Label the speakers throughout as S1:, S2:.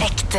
S1: Ekte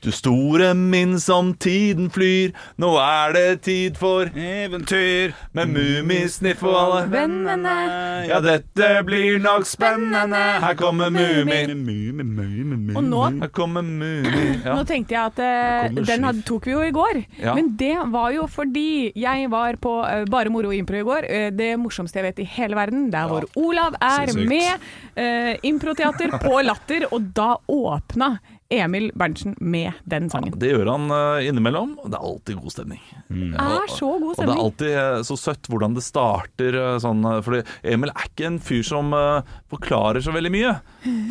S2: Du store min som tiden flyr, nå er det tid for
S3: Eventyr
S2: Med Mummisniff og alle
S4: Vennene.
S2: Ja, dette blir nok spennende Her kommer Mummi
S4: Og nå,
S2: Her kommer Mummi ja.
S4: nå tenkte jeg at eh,
S3: kommer
S4: den
S3: skyv.
S4: hadde, tok vi jo i går.
S2: Ja.
S4: Men det var jo fordi jeg var på eh, Bare moro impro i går. eh, det morsomste jeg vet i hele verden. Der hvor Olav er
S3: Sinnssykt.
S4: med. Uh, Improteater på Latter. Og da åpna Emil Berntsen med den sangen.
S2: Det gjør han eh, innimellom Og det er alltid god stemning
S4: Det er så
S2: Og det
S4: god
S2: er
S4: stemning.
S2: alltid eh, så søtt hvordan det starter eh, sånn eh, Fordi Emil er ikke en fyr som eh, forklarer så veldig mye.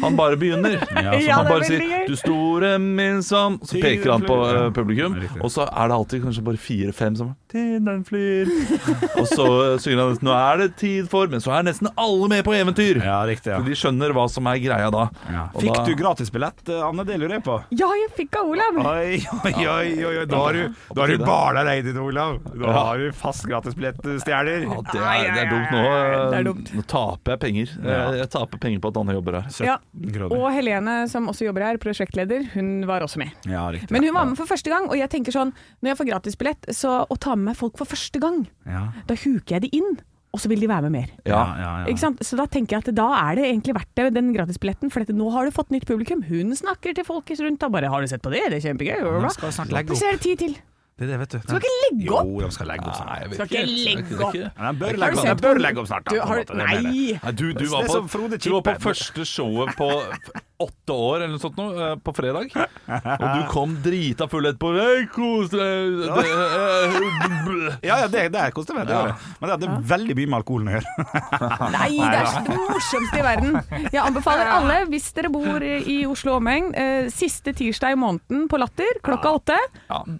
S2: Han bare begynner.
S3: sånn.
S4: Ja,
S2: han
S4: det er
S2: bare sier
S4: veldig gøy.
S2: 'du store min som' Så peker han på eh, publikum,
S3: Ja, riktig.
S2: og så er det alltid kanskje bare fire-fem som Tinderen flyr. Og så eh, synger han 'nå er det tid for', men så er nesten alle med på eventyr.
S3: Ja, riktig ja.
S2: Så de skjønner hva som er greia da.
S3: ja.
S2: Og
S3: Fikk
S2: da-
S3: du gratisbillett, eh, Anne? Det lurer jeg på.
S4: Ja, jeg fikk av Olav!
S3: Oi, oi, oi, oi, oi. Da har du, da har du bala deg inn i det, Olav. Da har du fast gratisbillett, du stjeler.
S2: Ja, det, er, det er dumt nå. eh,
S4: Det er dumt.
S2: Nå taper jeg penger. Eh, Jeg taper penger på at Anne jobber her.
S4: Ja.
S3: 17 kroner.
S4: Og Helene, som også jobber her, prosjektleder, hun var også med.
S3: Ja, riktig.
S4: Men hun var med for første gang, og jeg tenker sånn Når jeg får gratisbillett, så å ta med meg folk for første gang,
S3: Ja,
S4: da huker jeg de inn, og så vil de være med mer.
S3: ja,
S2: Ja.
S3: ja. ja.
S4: Ikke sant? Så da tenker jeg at da er det egentlig verdt det, den gratisbilletten, for dette, nå har du fått nytt publikum. Hun snakker til folk rundt og bare 'Har du sett på det? Det er kjempegøy.' bla, bla,
S3: De
S4: bla.
S3: skal snart legge
S4: Og så
S3: opp.
S4: er det ti til.
S3: Det er det, vet du.
S4: Skal ikke legge opp?
S3: Jo, de skal legge opp
S2: Nei,
S3: snart.
S2: jeg vet
S4: Skal ikke legge
S2: Det er ikke-
S4: opp.
S3: Nei, de bør
S4: Har du
S3: legge opp,
S4: sett
S3: de bør
S4: på-
S3: legge opp snart. da,
S4: Du,
S3: på en
S4: har,
S3: måte, det mener jeg.
S4: nei!
S2: Nei, du, du, var
S3: Det er som
S2: på,
S3: Frode
S2: du var på
S3: Kippe.
S2: første showet på f- åtte år eller noe sånt nå, eh, på fredag. Og du kom drita full etterpå. Hei, kos deg! Det- eh, eh,
S3: Ja, ja, det, det er kostyme. Det er det. Men det hadde veldig mye med alkoholen å gjøre.
S4: Nei, det er det morsomste i verden. Jeg anbefaler alle, hvis dere bor i Oslo omegn, eh, siste tirsdag i måneden på Latter klokka åtte. Bam!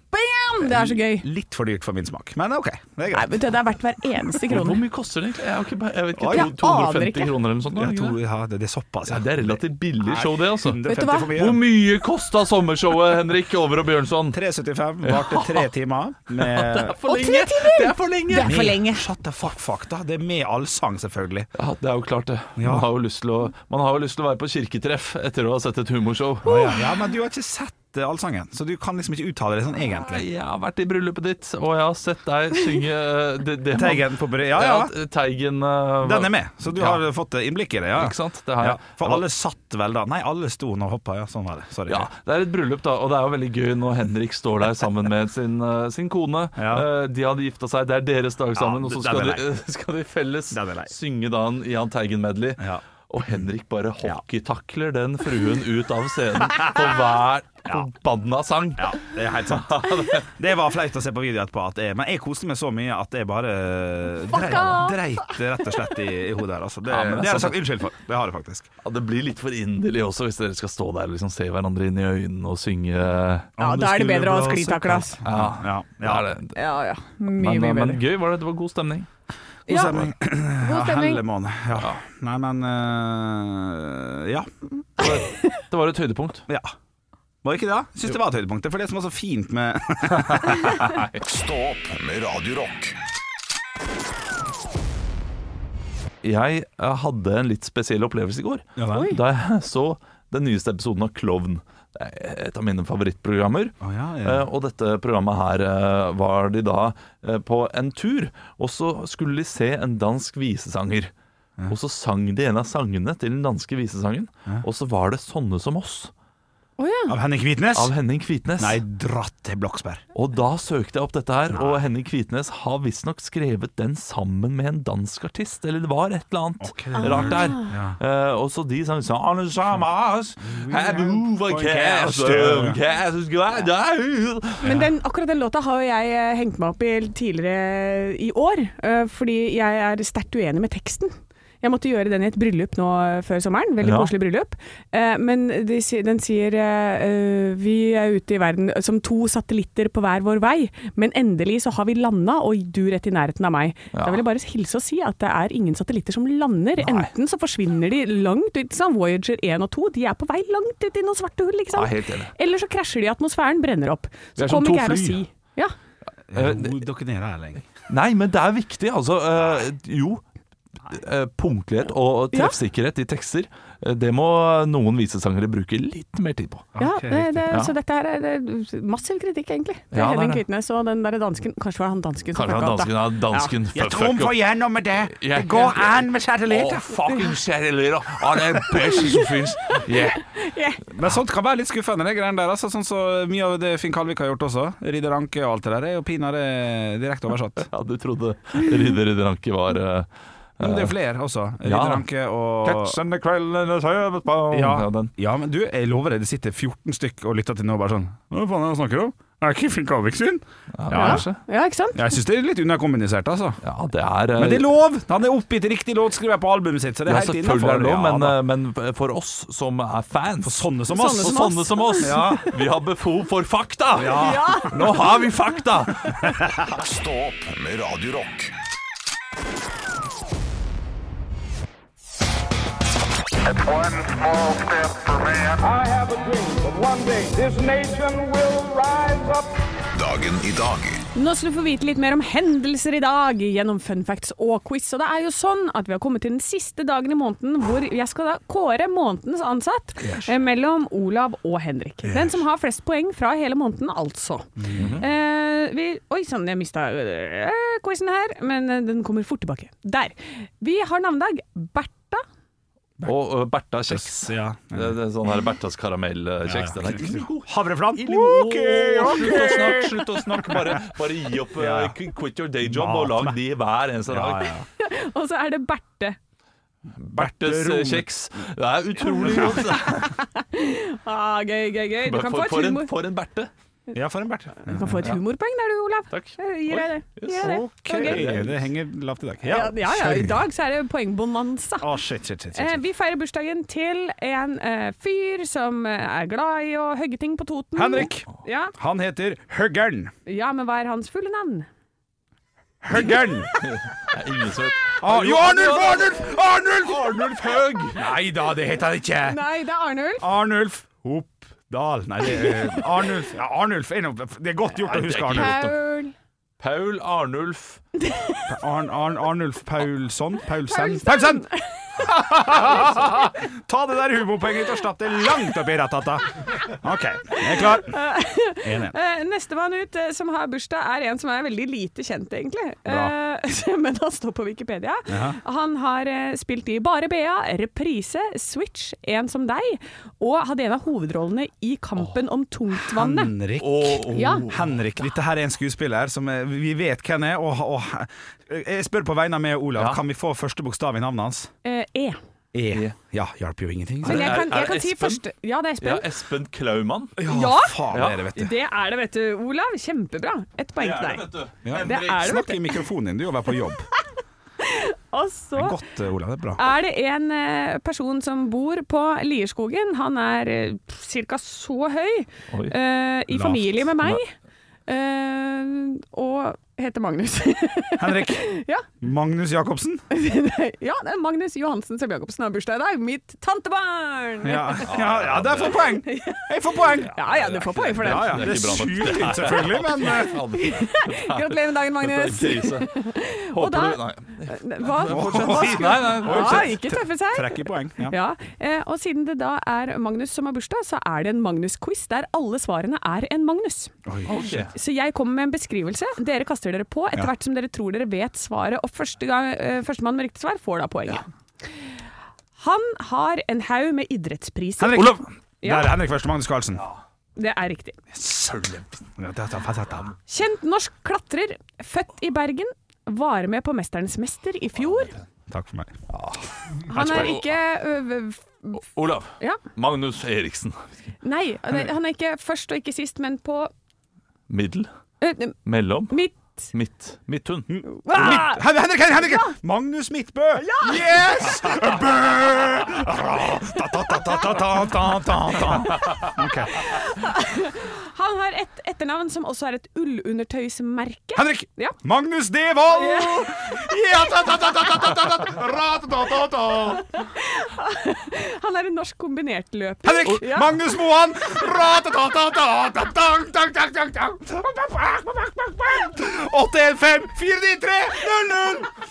S4: Det er så gøy.
S3: Litt for dyrt for min smak, men OK. Det er
S4: Nei,
S3: greit.
S4: vet du, det er verdt hver eneste
S2: Hvor hvor
S4: krone.
S2: mye koster det egentlig? Jeg, har ikke, pe- jeg vet
S3: Oi,
S2: ikke,
S3: jeg
S2: to- 250
S4: aner ikke.
S2: kroner eller noe sånt? nå,
S3: Jeg
S2: ikke
S3: tror,
S2: det?
S3: ja, det, det er såpass,
S2: Ja, det er relativt billig show, det, altså.
S3: 150
S4: Vet du hva?
S3: for mye.
S2: Hvor mye kosta sommershowet Henrik Over og Bjørnson?
S3: 3,75 varte tre timer med
S2: For
S4: Og tre timer!
S2: Det er for lenge!
S4: Det er for lenge.
S3: Shut the fuck, fuck, da. Det er med allsang, selvfølgelig.
S2: Ja, det er jo klart, det.
S3: Ja.
S2: Man har jo lyst til å, man har jo lyst til å være på kirketreff etter å ha sett et humorshow.
S3: Ja, ja, men du har ikke sett eh, allsangen, så du kan liksom ikke uttale det sånn egentlig.
S2: Jeg har vært i bryllupet ditt, og jeg har sett deg synge eh, det, det man-
S3: Teigen på bre... Ja,
S2: Ja,
S3: ja.
S2: Teigen eh,
S3: Den er med, så du
S2: Ja.
S3: har fått eh, innblikk i det. Ja.
S2: Ikke sant? Det har
S3: Ja,
S2: jeg.
S3: for alle satt vel da. Nei, alle sto nå og hoppa, ja. Sånn var det. Sorry.
S2: Ja, Det er et bryllup, da, og det er jo veldig gøy når Henrik står der sammen med sin, eh, sin kone.
S3: Ja.
S2: Eh, De hadde gifta seg, det er deres dag sammen,
S3: Ja,
S2: og så
S3: den
S2: skal
S3: er
S2: de, skal de felles
S3: Den er lei.
S2: synge da en Jahn Teigen-medley.
S3: Ja.
S2: Og Henrik bare hockeytakler den fruen ut av scenen på hver forbanna sang.
S3: Ja, det er helt sant. Det var flaut å se på video etterpå, at jeg, men jeg koste meg så mye at jeg bare eh, dreit,
S4: off!
S3: dreit rett og slett i, i hodet her. Altså. Det,
S2: Ja, men det er
S3: det har jeg
S2: sant.
S3: sagt unnskyld for. Det har jeg faktisk.
S2: Ja, det blir litt for inderlig også, hvis dere skal stå der og liksom se hverandre inn i øynene og synge.
S4: Ja, da er det bedre å ha sklitakle, ass.
S2: Ja,
S3: Ja,
S2: det
S3: ja.
S2: er det.
S4: Ja ja. Mye,
S2: Men, eh,
S4: mye
S2: men
S4: bedre.
S2: gøy var det. Det var god stemning.
S4: Ja,
S3: stemning.
S4: god
S3: Ja,
S4: stemning.
S3: Hellemåne. Ja. Nei, men øh, ja.
S2: Det var et høydepunkt.
S3: ja. Var ikke det? da? Syns det var et høydepunkt. For det som var så fint med
S5: Stå opp med Radio Rock
S2: Jeg eh, hadde en litt spesiell opplevelse i går.
S3: Ja vel. Oi.
S2: Da jeg så den nyeste episoden av Klovn. Det er Et av mine favorittprogrammer.
S3: Å, ja, Ah, ja.
S2: Eh, Og dette programmet her eh, var de da eh, på en tur, og så skulle de se en dansk visesanger. Og så sang de en av sangene til den danske visesangen, og så var det 'Sånne som oss'
S4: Å ja.
S3: Av Henning Hvitnes?
S2: av Henning Kvitnes.
S3: Nei, dratt til Bloksberg.
S2: Og da søkte jeg opp dette her, og Henning Kvitnes har visstnok skrevet den sammen med en dansk artist, eller det var et eller annet
S3: Ok.
S2: rart der. Eh, og så de sang sånn Alle sammen oss, have you for um, castle, castle's glad day».
S4: Men den, akkurat den låta har jo jeg eh, hengt meg opp i tidligere i år, eh, fordi jeg er sterkt uenig med teksten. Jeg måtte gjøre den i et bryllup nå eh, før sommeren, veldig
S2: Ja.
S4: koselig bryllup. Eh, Men de, si- den sier eh, eh, vi er ute i verden eh, som to satellitter på hver vår vei, men endelig så har vi landa, og du rett i nærheten av meg.
S2: Ja.
S4: Da vil jeg bare hilse og si at det er ingen satellitter som lander. Enten så forsvinner de langt ut, sånn Voyager 1 og 2, de er på vei langt ut i noen svarte hull, ikke sant?
S2: Ja, helt enig.
S4: Eller så krasjer de i atmosfæren, brenner opp.
S2: Vi
S4: Så
S2: er som
S4: kom
S2: to
S4: ikke her og
S2: fly.
S4: si. Ja.
S3: Jo, dere nede her lenge.
S2: Nei, men det er viktig, altså. Eh, jo, eh, punktlighet og
S4: Ja.
S2: treffsikkerhet i tekster, eh, det må noen visesangere bruke litt mer tid på.
S4: Ja,
S3: Ok,
S4: det, det,
S2: Ja.
S4: Så dette her er det er massiv kritikk, egentlig. Det er
S2: Ja, det er
S4: Henning
S2: det.
S4: Kvitnes og den der dansken Kanskje var han dansken som
S2: Kanskje han
S4: fucka opp,
S2: dansken
S4: da.
S2: er dansken fuck,
S3: Jeg
S2: fuck
S3: trumfer
S2: up.
S3: gjennom med det!
S2: Ja,
S3: Det går
S2: ja.
S3: an med
S2: Å,
S3: satellitter!
S2: fucking satellitter! Å, det er det beste som fins! Yeah.
S3: Men sånt kan være litt skuffende, det greiene der. Altså, sånn så mye av det Finn Kalvik har gjort også. Ridder Anke og alt det der er jo pinadø direkte oversatt.
S2: Ja, du trodde Ridder Ridder Anke var eh,
S3: Men det er jo flere også.
S2: Ja.
S3: Ridder Anke og
S2: Catch and the Krell and the Tøyet Bone.
S3: ja.
S2: Ja, den.
S3: ja, men du, jeg lover deg, det sitter 14 stykk og lytter til nå bare sånn Hva faen er det han snakker om? Er det ikke Finn Kalvik sin? Ja.
S2: kanskje.
S4: Ja, ikke sant?
S3: Jeg syns det er litt underkommunisert, altså.
S2: ja, det er eh,
S3: Men det er lov! Han er oppgitt riktig låtskriver på albumet sitt, så det
S2: Ja,
S3: er helt
S2: selvfølgelig er
S3: innafor.
S2: det lov, men, eh, men for oss som er fans For
S3: sånne som oss.
S2: og sånne som oss. Vi har behov for fakta! Nå har vi fakta!
S5: Stå opp med Radio Rock.
S1: One small step for man. I have a dream that one day this nation will rise up.
S5: Dagen i dag
S4: Nå skal du få vite litt mer om hendelser i dag gjennom fun facts og quiz. Og det er jo sånn at vi har kommet til den siste dagen i måneden hvor jeg skal da kåre månedens ansatt eh, mellom Olav og Henrik. Den som har flest poeng fra hele måneden, altså.
S2: Mhm.
S4: eh, vi, oi sann, jeg mista eh, quizen her, men eh, den kommer fort tilbake. Der. Vi har navnedag. Bertha.
S2: Og eh, Bertha kjeks.
S3: Ja.
S2: Det, det er sånn her Berthas karamellkjeks. Den er god.
S3: Havreflan.
S2: Ok, Slutt å snakke, slutt å snakke. Bare, bare gi opp. eh,
S3: Ja.
S2: qu- Quit your day job og lag de hver eneste
S3: Ja,
S2: dag.
S3: ja.
S4: Og så er det Berthe.
S2: Bertes eh,
S3: Rom.
S2: kjeks. Det er utrolig godt.
S4: Ah, gøy, gøy, gøy. Du kan få
S2: For,
S4: et,
S2: for, en,
S4: humor.
S2: for en Berthe.
S3: ja, for en bert.
S4: Du kan få et humorpoeng der du, Olav.
S2: Takk.
S4: Jeg Gir deg det. Gir deg det.
S3: Ok,
S4: Ok.
S3: det henger lavt i dag.
S4: Ja, ja, ja, i dag så er det poengbonanza.
S3: Å, shit, shit, shit, shit.
S4: Eh, vi feirer bursdagen til en eh, fyr som eh, er glad i å hogge ting på Toten.
S3: Henrik.
S4: Ja,
S3: Han heter Høggern.
S4: ja men hva er hans fulle navn?
S3: Høggern!
S2: Det er ingen som vet.
S3: Ah, jo, Arnulf! Arnulf! Arnulf!
S2: Arnulf Høeg!
S3: Nei da, det heter han ikke.
S4: Nei, det er Arnulf.
S3: Arnulf Oppdal. Nei, det er eh, Arnulf. Ja, Arnulf er noe, det er godt gjort å
S2: det er
S3: huske
S2: ikke
S3: Arnulf.
S4: Paul.
S2: Paul Arnulf.
S3: Arn, Arn, Arnulf Paulsson? Paulsen?
S4: Paulsen!
S3: Paulsen! Ta det der humorpoenget ditt og slapp det langt opp i rattata. OK, jeg er klar. En, en.
S4: Eh, Nestemann ut eh, som har bursdag, er en som er veldig lite kjent, egentlig.
S3: Bra.
S4: Eh, men han står på Wikipedia. Han har eh, spilt i Bare Bea, Reprise, Switch, En som deg, og hadde en av hovedrollene i Kampen om tungtvannet.
S3: Henrik.
S2: Og, og
S4: Ja.
S3: Henrik, dette her er en skuespiller som eh, vi vet hvem er. Og, og jeg spør på vegne av meg og Olav,
S2: Ja.
S3: kan vi få første bokstav i navnet hans?
S4: Eh, E.
S3: E. Ja, hjalp jo ingenting.
S4: Men jeg
S2: Er-
S4: kan,
S2: er
S4: jeg
S2: det
S4: kan si
S2: Espen?
S4: første Ja, det er
S2: ja,
S4: Espen.
S2: Espen Klaumann.
S4: Ja.
S3: faen
S2: Ja.
S3: er det, vet du.
S4: Det er det, vet du, Olav. Kjempebra. Ett poeng til deg.
S3: Ja.
S4: Det er det, vet
S3: Snakk
S4: du.
S3: i mikrofonen din, du jobber på jobb.
S4: Og så
S3: Godt, eh, Olav. Det er bra.
S4: er det en eh, person som bor på Lierskogen. Han er ca. så høy.
S2: Oi.
S4: eh, I
S3: Lavt.
S4: familie med meg. eh, og heter Magnus.
S3: Henrik.
S4: Ja.
S3: Magnus Jacobsen.
S4: ja, det er Magnus Johansen som Jacobsen har bursdag i dag. Mitt tantebarn!
S3: Ja, ja, ja der får jeg poeng! Jeg får poeng!
S4: Ja ja, du får poeng for den.
S3: Ja, ja.
S2: Det er
S3: Det er
S2: ikke bra nok.
S3: sjukt fint, selvfølgelig, men eh,
S4: Gratulerer med dagen, Magnus.
S2: Grise.
S4: Og
S2: Håper
S4: da-
S2: du Nei.
S4: Hva?
S2: Nei, nei.
S4: Ja, ikke tøffe seg.
S3: trekk i poeng. Ja.
S4: Ja, eh, og siden det da er Magnus som har bursdag, så er det en Magnus-quiz der alle svarene er en Magnus.
S2: Ok.
S4: Så jeg kommer med en beskrivelse, dere kaster dere på etter
S3: Ja.
S4: hvert som dere tror dere vet svaret, og første gang, eh, førstemann med riktig svar får da poenget. Han har en haug med idrettspriser.
S3: Henrik. Olav. Der
S4: Ja.
S3: er Henrik først. Magnus Carlsen.
S4: Det er riktig.
S3: Ja, det er fett, da.
S4: Kjent norsk klatrer, født i Bergen. Var med på 'Mesternes mester' i fjor.
S3: Takk for meg.
S4: Han er ikke ø, ø,
S2: Olav.
S4: Ja.
S2: Magnus Eriksen.
S4: Nei, han er ikke først og ikke sist, men på
S2: Middel.
S4: ø,
S2: Mellom.
S4: mitt
S2: Midt. Midthun.
S4: Ah!
S3: Hen- Henrik! Henrik, Henrik. Magnus Midtbø! Yes! Bø! Ta, ta, ta, ta, ta, ta, ta, ta, ta. Ok.
S4: Han har et etternavn som også er et ullundertøysmerke.
S3: Henrik!
S4: Ja.
S3: Magnus Devold! Ja, ta, ta, ta, ta, ta, ta, ta, ta. Ra, ta, ta, ta, ta.
S4: Han er en norsk kombinertløper.
S3: Henrik!
S4: Ja.
S3: Magnus Moan!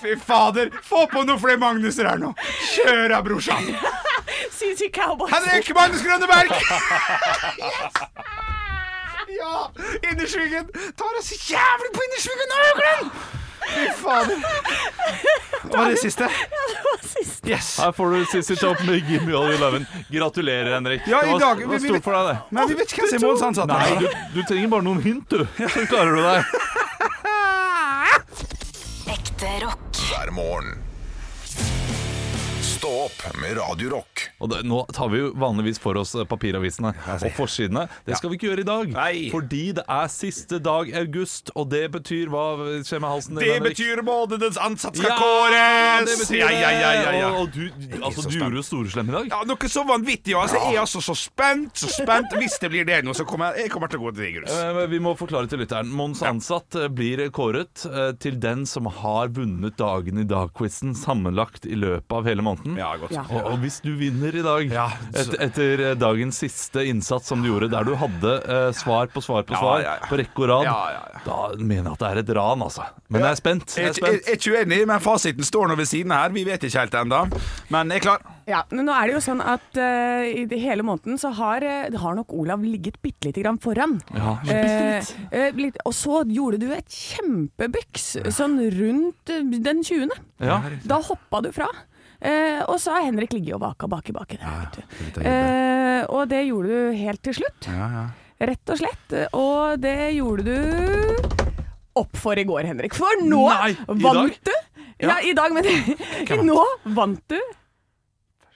S3: Fy fader, få på noen flere Magnuser her nå. Kjør da, brorsan.
S4: CC Cowboys.
S3: Henrik Magnus Grønneberg! Ja! Innersvingen! Tar oss jævlig på innersvingen nå, Glenn! Fy fader. Hva var det siste?
S4: Det var sist.
S3: Yes.
S2: Her får du Sissy Top med Gimme All You Lovin'. Gratulerer, Henrik.
S3: Ja,
S2: det
S3: i
S2: var,
S3: dag-
S2: det
S3: vi-
S2: var
S3: vi-
S2: stort for deg, det.
S3: Men vi vet ikke hvem som er målsansatt.
S2: Nei, du, du trenger bare noen hint, du. Så klarer du deg.
S6: Ekte rock.
S5: hver morgen. Stå opp med Radio Rock.
S2: Og det, nå tar vi jo vanligvis for oss eh, papiravisene og forsidene. Det skal vi ikke gjøre i dag,
S3: Nei.
S2: fordi det er siste dag august, og det betyr Hva skjer med halsen din,
S3: Det
S2: Henrik?
S3: betyr månedens ansatt skal
S2: Ja, det
S3: kåres!
S2: betyr
S3: Ja, ja, ja, ja, ja.
S2: Og, og du,
S3: er
S2: altså, du
S3: så spent.
S2: gjorde jo storeslem i dag.
S3: ja noe så vanvittig. Altså. Jeg er altså så spent, så spent. Hvis det blir det nå, så kommer jeg, jeg kommer til å gå til grus.
S2: Eh, Vi må forklare til lytteren. Mons ansatt eh, blir kåret eh, til den som har vunnet dagen i dag-quizen sammenlagt i løpet av hele måneden.
S3: Ja, godt.
S4: Ja.
S2: Og, og hvis du vinner i dag,
S3: Ja,
S2: et,
S3: så-
S2: etter eh, dagens siste innsats som du gjorde, der du hadde eh, svar på svar på
S3: Ja,
S2: svar
S3: ja, ja.
S2: på rekke og rad,
S3: Ja, ja, ja.
S2: da mener jeg at det er et ran, altså. Men jeg er spent. Jeg er
S3: Jeg jeg- jeg
S2: spent.
S3: er ikke uenig, men fasiten står nå ved siden her. Vi vet ikke helt ennå. Men jeg er klar.
S4: Ja, men nå er det jo sånn at eh, i det hele måneden så har, eh, har nok Olav ligget bitte lite grann foran.
S2: Ja,
S4: Eh, eh, litt. Og så gjorde du et kjempebyks sånn rundt eh, den 20.
S2: ja.
S4: Da hoppa du fra. Eh, og så har Henrik ligget og vaka baki baken. her, vet du.
S3: det er litt av
S4: Eh, og det gjorde du helt til slutt. Rett og slett. Og det gjorde du opp for i går, Henrik. For nå
S2: Nei, i
S4: vant
S2: dag?
S4: du! Ja, i dag, men nå vant du.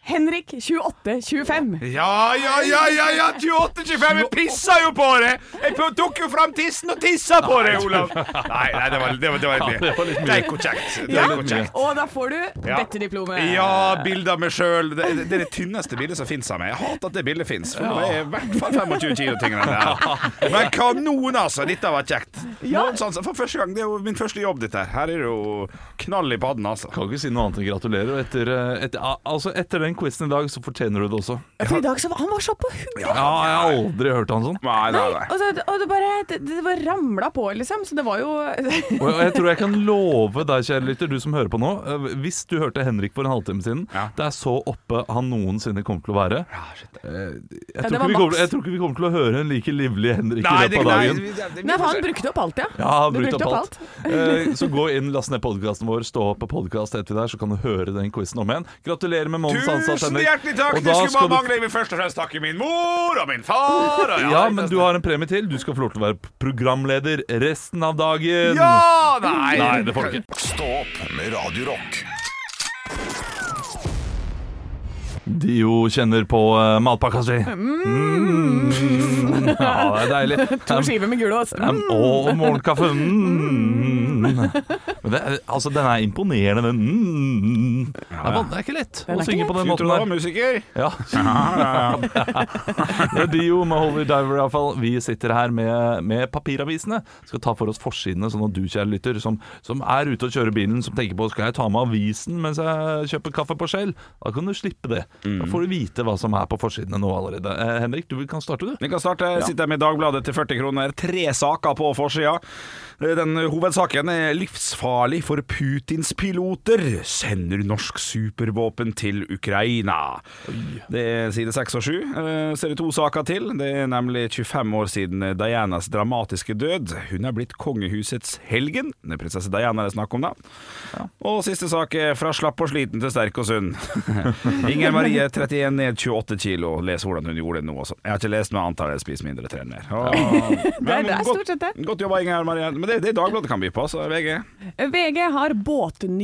S4: Henrik 28-25.
S3: Ja, ja, ja, ja, ja 28-25. Jeg pissa jo på det! Jeg tok jo fram tissen og tissa på det, Olav. Nei, nei, det var, det var, det var, litt mye.
S2: det var litt mye.
S3: Det er ikke kjekt. Det
S4: Ja,
S3: er ikke kjekt.
S4: og da får du
S3: Ja.
S4: dette diplomet.
S3: Ja,
S2: Eh.
S3: bilder av meg sjøl. Det, det er det tynneste bildet som fins av meg. Jeg hater at det bildet fins. For nå er jeg i hvert fall 25 kilo tyngre enn det her. Men kanon, altså! Dette var kjekt.
S4: Ja.
S3: Målens ansatt For første gang. Det er jo min første jobb, dette her. Her er det jo knall i padden, altså.
S2: Kan ikke si noe annet enn gratulerer. Og etter, eh, etter, al- altså etter den quizen i dag, så fortjener du det også.
S4: For i dag så var han var så på huet.
S2: Ja, jeg har aldri hørt han sånn.
S3: Nei, nei, nei.
S4: Og, så, og det bare det, det bare ramla på, liksom. Så det var jo
S2: Og jeg, og jeg tror jeg kan love deg, kjære lytter, du som hører på nå eh, Hvis du hørte Henrik for en halvtime siden,
S3: Ja.
S2: det er så oppe han noensinne kommer til å være. Eh, Jeg tror,
S4: det var
S2: ikke vi kommer,
S4: maks.
S2: jeg tror ikke vi kommer til å høre en like livlig Henrik
S3: Nei,
S2: i
S3: det,
S2: løpet av
S3: nei,
S2: dagen.
S3: det- det-
S4: Men han brukte opp alt, ja.
S2: Ja, han
S4: Du
S2: brukte
S4: brukte
S2: opp alt.
S4: opp
S2: Eh, så gå inn, last ned podkasten vår, stå opp på podkast etter der, så kan du høre den quizen om igjen. Gratulerer med månedens ansatt,
S3: Tusen
S2: Henrik.
S3: hjertelig takk!
S2: Og
S3: Det
S2: da
S3: skulle
S2: skal
S3: bare
S2: du-
S3: mangle. Jeg vil først og fremst takke min mor og min far. Og
S2: Ja, men du har en premie til. Du skal få lov til å være programleder resten av dagen.
S3: Ja! Nei,
S2: Nei, det får du ikke.
S5: Stå opp med Radio Rock.
S2: Dio kjenner på uh, matpakka si. Mm. Ja, det er deilig.
S4: To
S2: Um,
S4: skiver med gulost.
S2: um, og morgenkaffe. Mm. Men det, er- altså, den er imponerende, den. Mm. Det, er, van- det er ikke lett
S4: Den er
S2: å synge
S4: ikke
S2: på den
S3: Skulle
S2: måten
S3: tro du var
S2: der.
S3: musiker.
S2: Ja. Det er Dio med Holy Diver, iallfall. Vi sitter her med, med papiravisene. Skal ta for oss forsidene, sånn at du, kjære lytter, som, som er ute og kjører bilen, som tenker på skal jeg ta med avisen mens jeg kjøper kaffe på Shell, da kan du slippe det. Da får du vite hva som er på forsidene nå allerede. Eh, Henrik, du kan starte, du.
S3: Vi kan starte. Jeg sitter med Dagbladet til 40 kroner. Tre saker på forsida. Den hovedsaken er livsfarlig for Putins piloter. Sender norsk supervåpen til Ukraina. Det er side 6 og 7. Eh, Så er det to saker til. Det er nemlig 25 år siden Dianas dramatiske død. Hun er blitt kongehusets helgen. Det er prinsesse Diana det er snakk om, da. Og siste sak er fra slapp og sliten til sterk og sunn. Inger Marie 31 ned 28 kilo. Les hvordan hun gjorde det nå. Også. Jeg har ikke lest noe annet, jeg spiser mindre, trener mer. Åh. Men
S4: det er
S3: godt-
S4: stort sett det.
S3: Godt jobba, Inger Marie. Men det, det er Dagbladet kan by på, så VG.
S4: VG Mm. har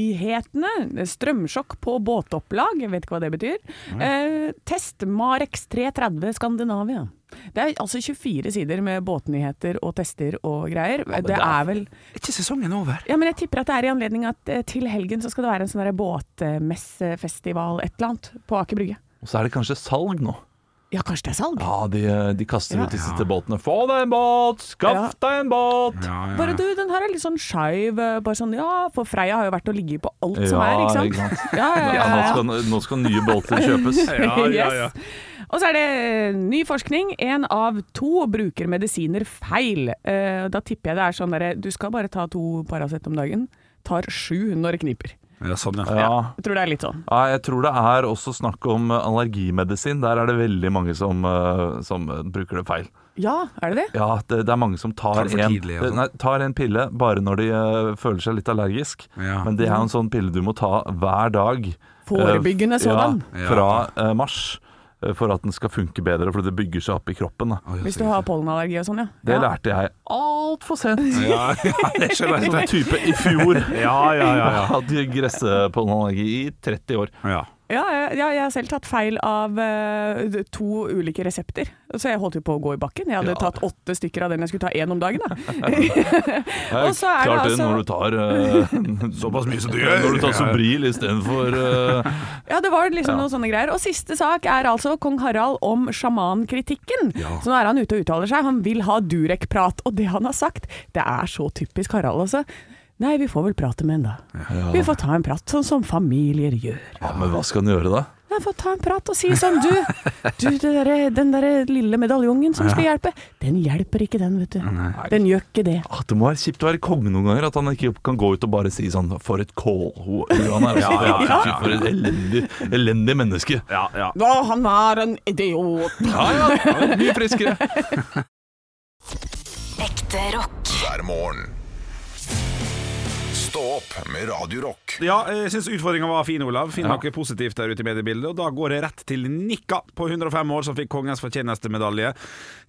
S4: båtnyhetene. Strømsjokk på båtopplag, jeg vet ikke hva det betyr. Eh, test Marex 330 Skandinavia. Det er altså 24 sider med båtnyheter og tester og greier. det,
S2: det
S4: er,
S2: er-
S4: vel
S3: Er ikke sesongen over?
S4: Ja, men jeg tipper at det er i anledning at eh, til helgen så skal det være en sånn der båtmessefestival, et eller annet, på Aker Brygge.
S2: Og så er det kanskje salg nå.
S4: Ja, kanskje det er salg?
S2: Ja, de, de kaster
S4: Ja.
S2: ut disse til båtene. Få deg en båt! Skaff
S4: Ja.
S2: deg en båt!
S3: Ja, ja.
S4: Bare du, den her er litt sånn skeiv. eh, Bare sånn ja, for Freia har jo vært og ligget på alt som
S2: Ja,
S4: er, ikke sant?
S2: ikke sant?
S4: Ja, ja,
S2: Ja,
S4: ja,
S2: nå,
S4: ja.
S2: skal, nå skal nye båter kjøpes.
S4: Yes. Og så er det eh, ny forskning. Én av to bruker medisiner feil. Eh, Da tipper jeg det er sånn derre Du skal bare ta to Paracet om dagen. Tar sju når det kniper.
S3: ja, sånn, ja.
S2: Ja.
S4: Jeg tror det er litt sånn.
S2: Ja, jeg tror det er også snakk om eh, allergimedisin. Der er det veldig mange som, eh, som eh, bruker det feil.
S4: Ja, er det det?
S2: Ja, det, det er mange som tar,
S3: Tar det for
S2: en,
S3: tidlig, altså.
S2: nei, tar en pille bare når de eh, føler seg litt allergisk.
S3: Ja.
S2: Men det er jo en sånn pille du må ta hver dag.
S4: Mm. Forebyggende
S2: Eh,
S4: sådan.
S2: Ja, fra eh, mars. eh, For at den skal funke bedre, fordi det bygger seg opp i kroppen. Da.
S3: Oi,
S4: Hvis
S3: altså,
S4: du har pollenallergi og sånn, ja.
S2: Det
S4: ja.
S2: lærte jeg altfor sent.
S3: Ja, ja, det skjønner jeg.
S2: Sånn type i fjor.
S3: Ja, ja, ja,
S2: Jeg hadde gressepollenallergi i 30 år.
S3: ja.
S4: Ja, ja, ja, jeg har selv tatt feil av eh, to ulike resepter. Så jeg holdt jo på å gå i bakken. Jeg
S2: Ja.
S4: hadde tatt åtte stykker av den jeg skulle ta én om dagen. Da.
S2: Jeg
S4: Og så er det
S2: klarte
S4: altså-
S2: når du tar eh,
S3: Såpass mye som du gjør.
S2: Når du tar Sobril istedenfor uh,
S4: Ja, det var liksom noen sånne greier. Og siste sak er altså kong Harald om sjamankritikken. Så nå er han ute og uttaler seg. Han vil ha Durek-prat. Og det han har sagt, det er så typisk Harald, altså. Nei, vi får vel prate med en, da. Vi får ta en prat, sånn som familier gjør.
S2: Ja, men hva skal han gjøre da?
S4: Jeg får ta en prat og si sånn Du, du det derre- den derre lille medaljongen som skal hjelpe, den hjelper ikke, den, vet du. Den gjør ikke det.
S2: At Ah, det må være kjipt å være konge noen ganger. At han ikke kan gå ut og bare si sånn For et kålhue han er. altså,
S3: Ja, ja, ja, ja.
S2: For et elendig, elendig menneske.
S3: Ja, ja.
S4: Å, han var en idiot.
S2: Ja, ja, ja, mye friskere.
S6: Ekte rock.
S5: hver morgen. Stå opp med Radio Rock.
S3: Ja, jeg syns utfordringa var fin, Olav. Finn noe positivt der ute i mediebildet. Og da går jeg rett til Nikka på 105 år, som fikk kongens fortjenestemedalje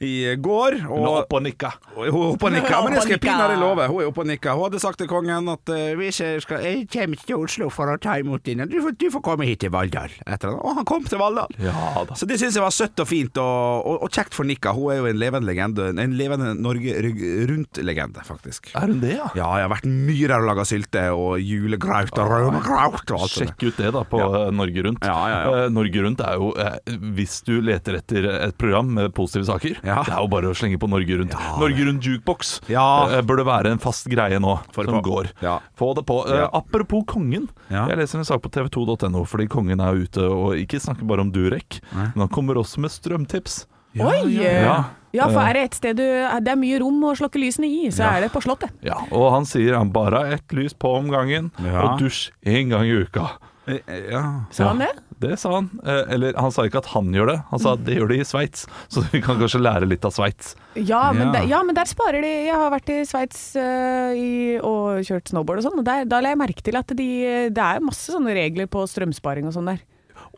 S3: i går.
S2: Hun er
S3: Og
S2: oppe og nikka.
S3: Og Hun er oppe og nikker,
S4: Hun er
S3: men jeg
S4: oppe
S3: skal
S4: og nikker.
S3: pinadø love. Hun er oppe og nikker. Hun hadde sagt til kongen at eh, hvis jeg, skal, jeg kommer til Oslo for å ta imot dine, du får, du får komme hit til Valldal. Etter han. Og han kom til Valldal.
S2: Ja da.
S3: Så det syns jeg var søtt og fint, og, og, og kjekt for Nikka. Hun er jo en levende legende. En levende Norge rygg- rundt-legende, faktisk.
S2: Er hun det, ja?
S3: Ja, jeg har vært mye der og laga sylte og julegraut og rømmegraut og alt sånt.
S2: Sjekk ut det da på eh, Norge Rundt.
S3: Ja, ja, ja.
S2: Eh, Norge Rundt er jo, eh, hvis du leter etter et program med positive saker,
S3: Ja.
S2: det er jo bare å slenge på Norge Rundt. Norge Rundt jukebox
S3: Ja.
S2: eh, bør det være en fast greie nå
S3: Få det
S2: som
S3: på.
S2: går.
S3: Ja.
S2: Få det på. Eh,
S3: Ja.
S2: Apropos kongen.
S3: Ja.
S2: Jeg leser en sak på tv2.no fordi kongen er ute og ikke snakker bare om Durek, men han kommer også med strømtips.
S4: Oi! Ja,
S2: ja.
S4: for er det et sted du Det er mye rom å slokke lysene i, så er det på Slottet.
S2: Ja, og han sier han bare har ett lys på om gangen,
S3: Ja.
S2: og dusj én gang i uka.
S3: Ja.
S4: Sa han det?
S2: Det sa han. Eh, Eller han sa ikke at han gjør det, han sa at det gjør de i Sveits. Så vi kan kanskje lære litt av Sveits.
S4: Ja men,
S3: Ja.
S4: Der, ja, men der sparer de Jeg har vært i Sveits øh, i- og kjørt snowboard og sånn, og der, da la jeg merke til at de, det er masse sånne regler på strømsparing og sånn der.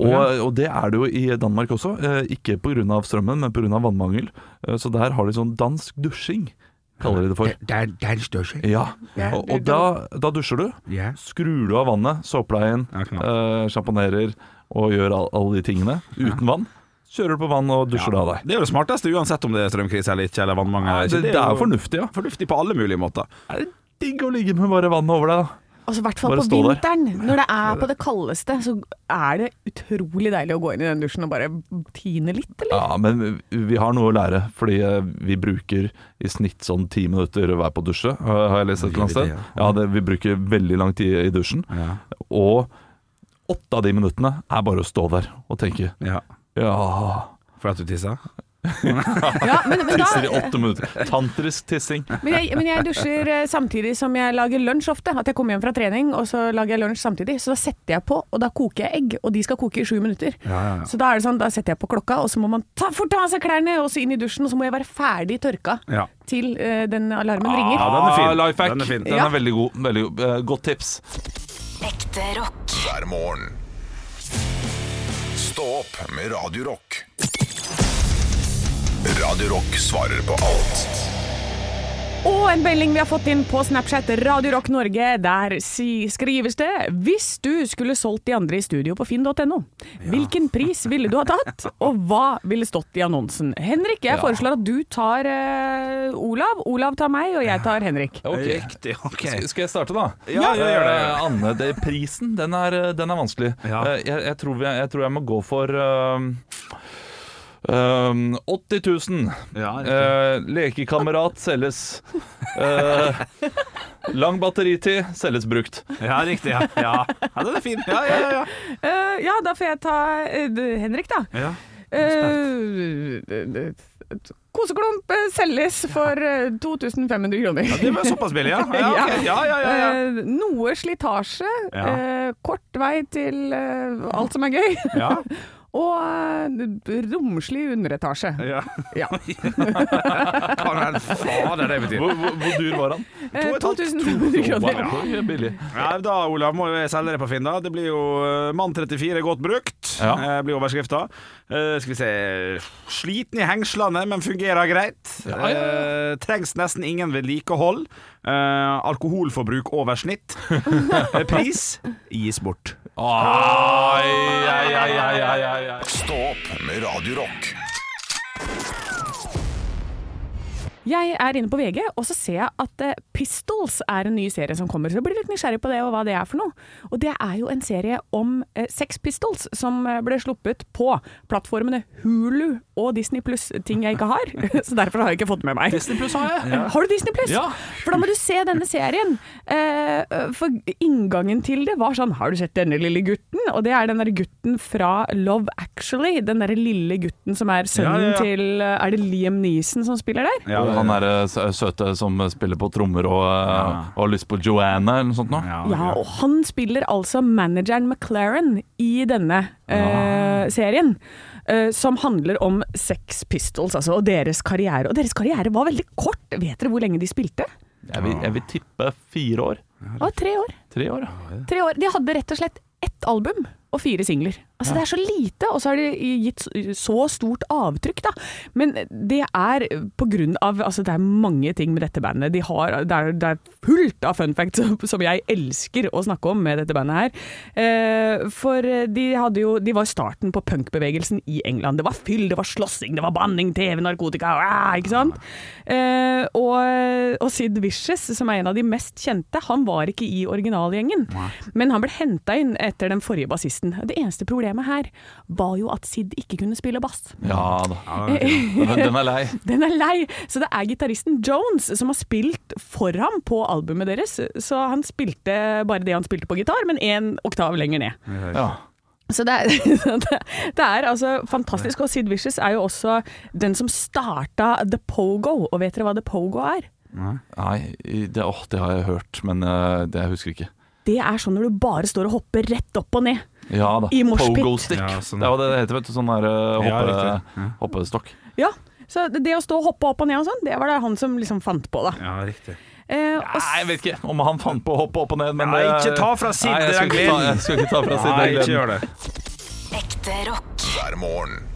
S2: Og, og det er det jo i Danmark også. eh, Ikke pga. strømmen, men pga. vannmangel. Eh, Så der har de sånn dansk dusjing, kaller de det for.
S3: Der, der står seg.
S2: Ja,
S4: Ja,
S2: Og,
S4: det-
S2: og da, da dusjer du.
S3: Ja.
S2: Skrur du av vannet, såpeleien,
S3: Ja, knall.
S2: eh, sjamponerer og gjør all- alle de tingene uten vann. Kjører du på vann og dusjer du av deg.
S3: Det er jo det smarteste, uansett om det er strømkrise eller ikke, eller vannmangel. eller ikke.
S2: Det, det er jo fornuftig, ja.
S3: fornuftig på alle mulige måter.
S2: Er det digg å ligge med bare vannet over deg, da?
S4: Altså i hvert fall
S2: Bare
S4: på
S2: stå der.
S4: vinteren, når det er på det kaldeste, så er det utrolig deilig å gå inn i den dusjen og bare tine litt, eller?
S2: Ja, men vi- vi har noe å lære, fordi eh, vi bruker i snitt sånn ti minutter hver på å dusje, eh, har jeg lest et eller annet
S3: Driver det,
S2: sted. Ja, det, vi bruker veldig lang tid i dusjen, og åtte av de minuttene er bare å stå der og tenke
S3: Ja.
S2: ja
S3: For at du tisser?
S4: Ja, men, men,
S2: Tisser i
S4: da,
S2: åtte minutter. Tantrisk tissing.
S4: men, jeg, men jeg dusjer eh, samtidig som jeg lager lunsj ofte. At jeg kommer hjem fra trening, og så lager jeg lunsj samtidig. Så da setter jeg på, og da koker jeg egg, og de skal koke i sju minutter. Så da er det sånn, da setter jeg på klokka, og så må man ta, fort ta av seg klærne, og så inn i dusjen, og så må jeg være ferdig tørka
S3: Ja.
S4: til eh, den alarmen ringer.
S3: Ja, den er fin.
S2: Ah, lifehack.
S3: Den er fin.
S2: Den
S4: Ja.
S2: er veldig god. Veldig god. Eh, Godt tips.
S6: Ekte rock.
S5: hver morgen. Stå opp med Radio Rock. Radio Rock svarer på alt
S4: Og en melding vi har fått inn på Snapchat Radio Rock Norge. Der si, skrives det Hvis du skulle solgt de andre i studio på finn.no, hvilken pris ville du ha tatt? Og hva ville stått i annonsen? Henrik, jeg foreslår at du tar eh, Olav. Olav tar meg, og jeg tar Henrik.
S3: Riktig, ok.
S2: Sk- Skal jeg starte, da?
S3: Ja, ja, gjør det, gjør det.
S2: Eh, Anne, det, prisen, den er, den er vanskelig.
S3: Ja.
S2: Eh, Jeg, jeg, tror vi, jeg tror jeg må gå for eh, Ehm, 80 000.
S3: Ja,
S2: Eh, lekekamerat selges. Eh, lang batteritid selges brukt.
S3: ja riktig. Ja. Ja. ja, den er fin. Ja, ja, ja,
S4: Eh, ja, da får jeg ta eh, d- Henrik, da.
S3: ja. ja.
S4: Eh, d- d- d- koseklump eh, selges for eh, 2500 kroner.
S3: Det var såpass billig, ja. Ja, ok. ja, ja, ja, ja.
S4: Eh, noe slitasje.
S3: Ja.
S4: eh, kort vei til eh, alt som er gøy.
S3: ja.
S4: Og eh, romslig underetasje.
S3: Ja.
S4: Ja.
S3: Hva er det fader det betyr?
S2: Hvor, hvor, hvor dyr var han?
S4: Eh,
S3: To og et halvt,
S4: 2500 kroner.
S2: Wow, det er billig.
S3: Nei, da, Olav, må jeg selge det på Finn. da Det blir jo eh, Mann 34 godt brukt,
S2: Ja.
S3: eh, blir overskrifta. Eh, skal vi se Sliten i hengslene, men fungerer greit. Eh, trengs nesten ingen vedlikehold. Eh, alkoholforbruk over snitt. Eh, Pris gis bort.
S2: Ai, ai, ai, ai, ai, ai, ai.
S5: Stå opp med Radio Rock.
S4: Jeg er inne på VG, og så ser jeg at eh, Pistols er en ny serie som kommer. Så jeg blir litt nysgjerrig på det og hva det er for noe. Og det er jo en serie om eh, Sex Pistols som eh, ble sluppet på plattformene Hulu og Disney Pluss, ting jeg ikke har. så derfor har jeg ikke fått med meg.
S2: Disney Plus har jeg.
S4: Har du Disney Pluss?
S2: Ja.
S4: For da må du se denne serien. Eh, for inngangen til det var sånn Har du sett denne lille gutten? Og det er den derre gutten fra Love Actually. Den derre lille gutten som er sønnen
S3: Ja, ja, ja.
S4: til eh, Er det Liam Neeson som spiller der?
S3: Ja,
S2: Han er eh, sø- søte som spiller på trommer og, eh, og har lyst på Joanna eller noe sånt nå.
S4: Ja, og han spiller altså manageren McLaren i denne eh, serien. eh, som handler om Sex Pistols altså, og deres karriere. Og deres karriere var veldig kort. Vet dere hvor lenge de spilte?
S2: Jeg vil, jeg vil tippe fire år.
S4: Det var tre år.
S2: Tre år, ja.
S4: Tre år. De hadde rett og slett ett album og fire singler. Altså Det er så lite, og så har de gitt så stort avtrykk, da. Men det er på grunn av Altså, det er mange ting med dette bandet. De har, det, er, det er fullt av fun facts som- som jeg elsker å snakke om med dette bandet her. Eh, for de hadde jo De var starten på punkbevegelsen i England. Det var fyll, det var slåssing, det var banning, TV, narkotika, ah, ikke sant? Eh, og, og Sid Vicious, som er en av de mest kjente, han var ikke i originalgjengen. Men han ble henta inn etter den forrige bassisten. Det eneste problemet her var jo at Sid ikke kunne spille bass.
S2: Ja da. Den den er lei.
S4: Den er lei! Så det er gitaristen Jones som har spilt for ham på albumet deres. Så han spilte bare det han spilte på gitar, men én oktav lenger ned.
S2: Ja.
S4: Så det er, det er altså fantastisk. Og Sid Vicious er jo også den som starta The Pogo. Og vet dere hva The Pogo er?
S2: Nei, i- det, åh, det har jeg hørt, men eh, det jeg husker ikke.
S4: Det er sånn når du bare står og hopper rett opp og ned.
S2: Ja da.
S4: I moshpit.
S2: Pogo stick.
S3: Ja, sånn.
S2: Det er hva det heter, vet du. Sånn der eh,
S3: Ja,
S2: hoppe,
S3: riktig.
S2: hoppestokk.
S4: Ja, så det å stå og hoppe opp og ned og sånn, det var det han som liksom fant på, da.
S3: Ja, riktig.
S4: Eh, og
S2: Nei, jeg vet ikke om han fant på å hoppe opp og ned, men
S3: Nei,
S2: det-
S3: ikke ta fra Sid
S2: Nei, jeg skal
S3: den
S2: ikke ta-
S3: gleden.
S2: Jeg skal ikke ta fra Sid
S3: Nei,
S2: den
S3: ikke
S2: gleden.
S3: gjør det.
S6: Ekte rock.
S5: hver morgen.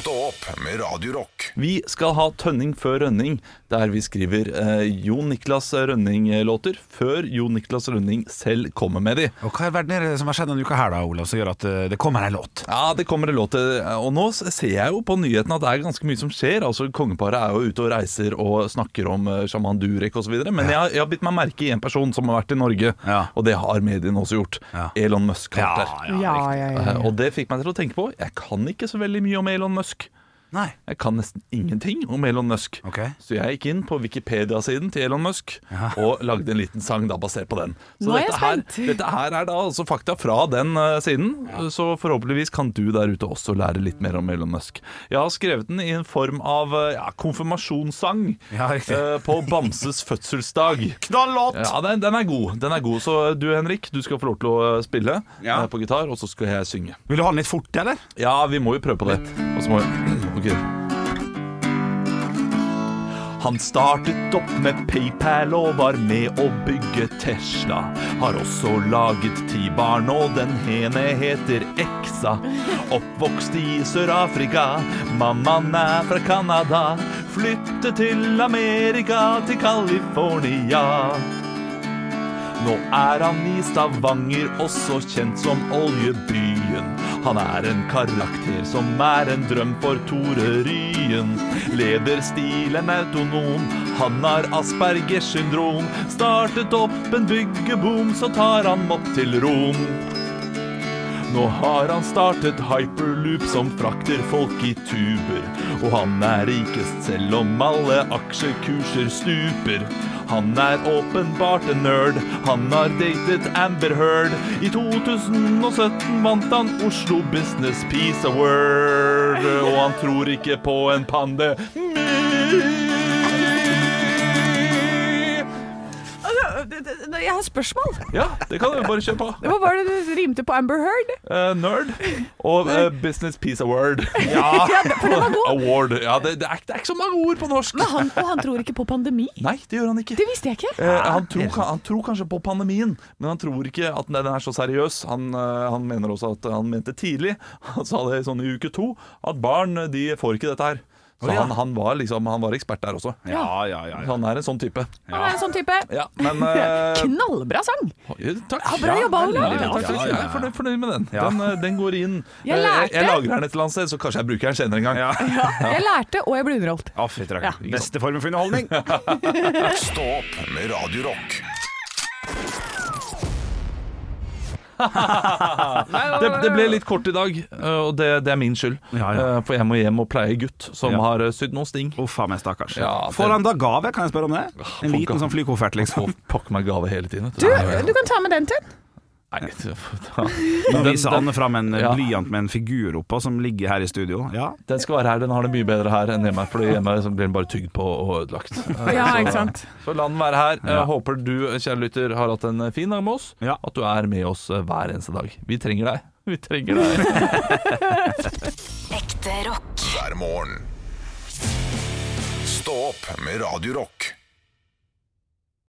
S5: Stå opp med Radio Rock.
S2: Vi skal ha Tønning før Rønning, der vi skriver eh, Jon Niklas Rønning-låter før Jon Niklas Rønning selv kommer med de.
S3: Og Hva i verden er det som har skjedd denne uka her, da, Olav, som gjør at eh, det kommer en låt?
S2: Ja, det kommer en låt til. Og nå ser jeg jo på nyhetene at det er ganske mye som skjer. Altså, Kongeparet er jo ute og reiser og snakker om eh, sjaman Durek osv. Men jeg, har- jeg har bitt meg merke i en person som har vært i Norge,
S3: Ja.
S2: og det har mediene også gjort.
S3: Ja.
S2: Elon Musk har vært der.
S4: ja, ja, ja,
S2: Eh, Og det fikk meg til å tenke på Jeg kan ikke så veldig mye om Elon Musk.
S3: Nei.
S2: Jeg kan nesten ingenting om Elon Musk.
S3: Ok.
S2: Så jeg gikk inn på Wikipedia-siden til Elon Musk og lagde en liten sang da basert på den. Så
S4: Nå er jeg
S2: dette, her,
S4: spent.
S2: dette her er da altså fakta fra den eh, siden, så forhåpentligvis kan du der ute også lære litt mer om Elon Musk. Jeg har skrevet den i en form av eh, ja, konfirmasjonssang
S3: Ja, riktig.
S2: eh, på Bamses fødselsdag.
S3: Knallåt!
S2: Ja, den, den er god. Den er god. Så du Henrik, du skal få lov til å eh, spille
S3: Ja.
S2: eh, på gitar, og så skal jeg synge.
S3: Vil du ha den litt fort, eller?
S2: Ja, vi må jo prøve på det. Og så må vi Ok. Han startet opp med PayPal og var med å bygge Tesla. Har også laget ti barn, og den ene heter Exa. Oppvokst i Sør-Afrika, mammaen er fra Canada. Flyttet til Amerika, til California. Nå er han i Stavanger, også kjent som Oljebyen. Han er en karakter som er en drøm for Tore Ryen. Leder stilen autonom, han har Aspergers syndrom. Startet opp en byggeboom, så tar han opp til Rom. Nå har han startet hyperloop som frakter folk i tuber. Og han er rikest selv om alle aksjekurser stuper. Han er åpenbart en nerd, han har datet Amber Heard. I 2017 vant han Oslo Business Peace Award. Og han tror ikke på en pandemi.
S4: Altså, det- det- det- Jeg har spørsmål.
S2: Ja, det kan du bare kjøre på.
S4: Hva var det du rimte på Amber Heard?
S2: Eh, nerd og eh, Business Peace Award. Ja, Award. Ja, det, det, er, det er ikke så mange ord på norsk.
S4: Men han, og han tror ikke på pandemi.
S2: Nei, det gjør han ikke.
S4: Det visste jeg ikke.
S2: Eh, han, tror, ka- han tror kanskje på pandemien, men han tror ikke at den er så seriøs. Han, eh, han mener også at han mente tidlig, han sa det sånn i uke to, at barn eh, de får ikke dette her. Så
S3: Å, ja.
S2: han, han, var liksom, han var ekspert der også.
S3: Ja, ja, ja. ja.
S2: Han er en sånn type.
S4: Han er en sånn type.
S2: Ja, men eh,
S4: Knallbra sang!
S2: Takk.
S4: Ja, bra jobba, Ole.
S2: Ja,
S3: Ja,
S2: takk,
S3: ja,
S2: Jeg
S3: ja.
S2: er fornøyd, fornøyd med den.
S3: Ja.
S2: Den, eh, den går inn.
S4: Jeg
S2: Eh,
S4: lærte.
S2: jeg lagrer den et eller annet sted, så kanskje jeg bruker den senere en gang.
S3: ja.
S4: Jeg lærte, og jeg ble underholdt.
S3: Ja, fy trakker.
S4: Ja.
S3: Beste formen for underholdning.
S5: Stå opp med Radio Rock.
S2: Det, det ble litt kort i dag, eh, og det, det er min skyld.
S3: Ja, ja.
S2: Eh, For jeg må hjem og pleie gutt som
S3: Ja.
S2: har eh, sydd noen sting.
S3: Uff a meg, stakkars.
S2: Ja, det-
S3: Får han da gave, kan jeg spørre om det? En
S2: får
S3: liten
S2: gave.
S3: sånn flykoffert, liksom.
S2: Og pakke meg gave hele tiden. vet
S4: Du,
S2: Nei,
S4: du kan ta med den til.
S2: nei, da-
S3: Nå
S2: den-
S3: viser
S2: den-
S3: Anne fram en
S2: Ja.
S3: blyant med en figur oppå, som ligger her i studio. Ja,
S2: Den skal være her, den har det mye bedre her enn hjemme, Fordi hjemme så blir den bare tygd på og ødelagt. Eh,
S4: Ja,
S2: så-
S4: ikke sant.
S2: Så la den være her. Jeg håper du, eh, kjære lytter, har hatt en eh, fin dag med oss.
S3: Ja.
S2: At du er med oss eh, hver eneste dag. Vi trenger deg. Vi trenger deg.
S6: Ekte rock.
S5: hver morgen. Stå opp med Radio Rock.